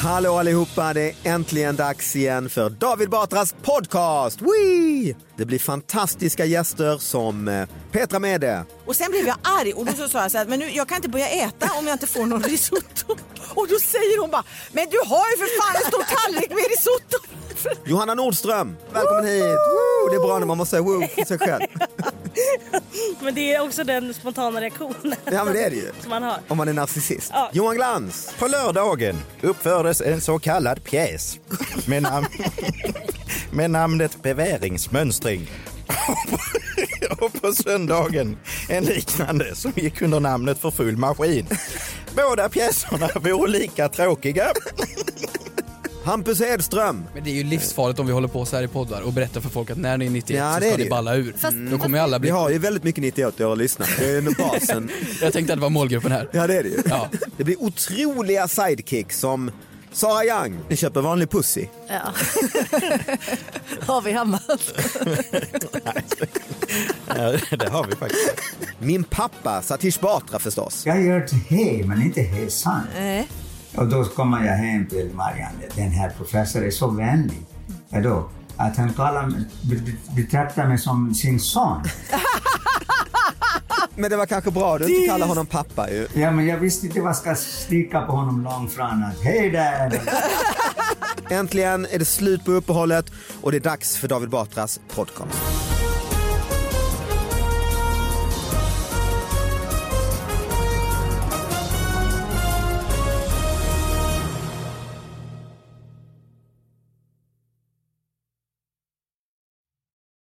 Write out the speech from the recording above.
Hallå allihopa, det är äntligen dags igen för David Batras podcast! Wee! Det blir fantastiska gäster som eh, Petra Mede. Och sen blev jag arg och då så sa jag så här, men nu, jag kan inte börja äta om jag inte får någon risotto. Och då säger hon bara, men du har ju för fan en stor tallrik med risotto. Johanna Nordström, välkommen hit! Woo! Det är bra när man måste säga woo för sig själv. Men det är också den spontana reaktionen Ja men det är det ju. som man har. Om man är narcissist. Ja. Johan Glans, På lördagen uppfördes en så kallad pjäs med, nam- med namnet Beväringsmönstring. Och på söndagen en liknande som gick under namnet För full maskin. Båda pjäserna vore lika tråkiga. Hampus Hedström. Men det är ju livsfarligt om vi håller på så här i poddar och berättar för folk att när ni är 91 Ja, så det är ska det ni ju. balla ur. Fast- Då kommer ju alla Vi bli... har ju väldigt mycket 98-åriga lyssnare, det är ju basen. Jag tänkte att det var målgruppen här. Ja det är det ju. Ja. Det blir otroliga sidekicks som Sara Young, ni köper vanlig pussy. Ja. Har vi hamnat? Ja, det har vi faktiskt. Min pappa, Satish Batra förstås. Jag gör till hej, men inte hejsan. Och då kommer jag hem till Marianne. Den här professorn är så vänlig. Vadå? Att han kallar, mig- be- be- betraktar mig som sin son. Men det var kanske bra du inte kallar honom pappa ju. Ja, men jag visste inte vad jag ska sticka på honom långt från att hej där. Äntligen är det slut på uppehållet och det är dags för David Batras podcast.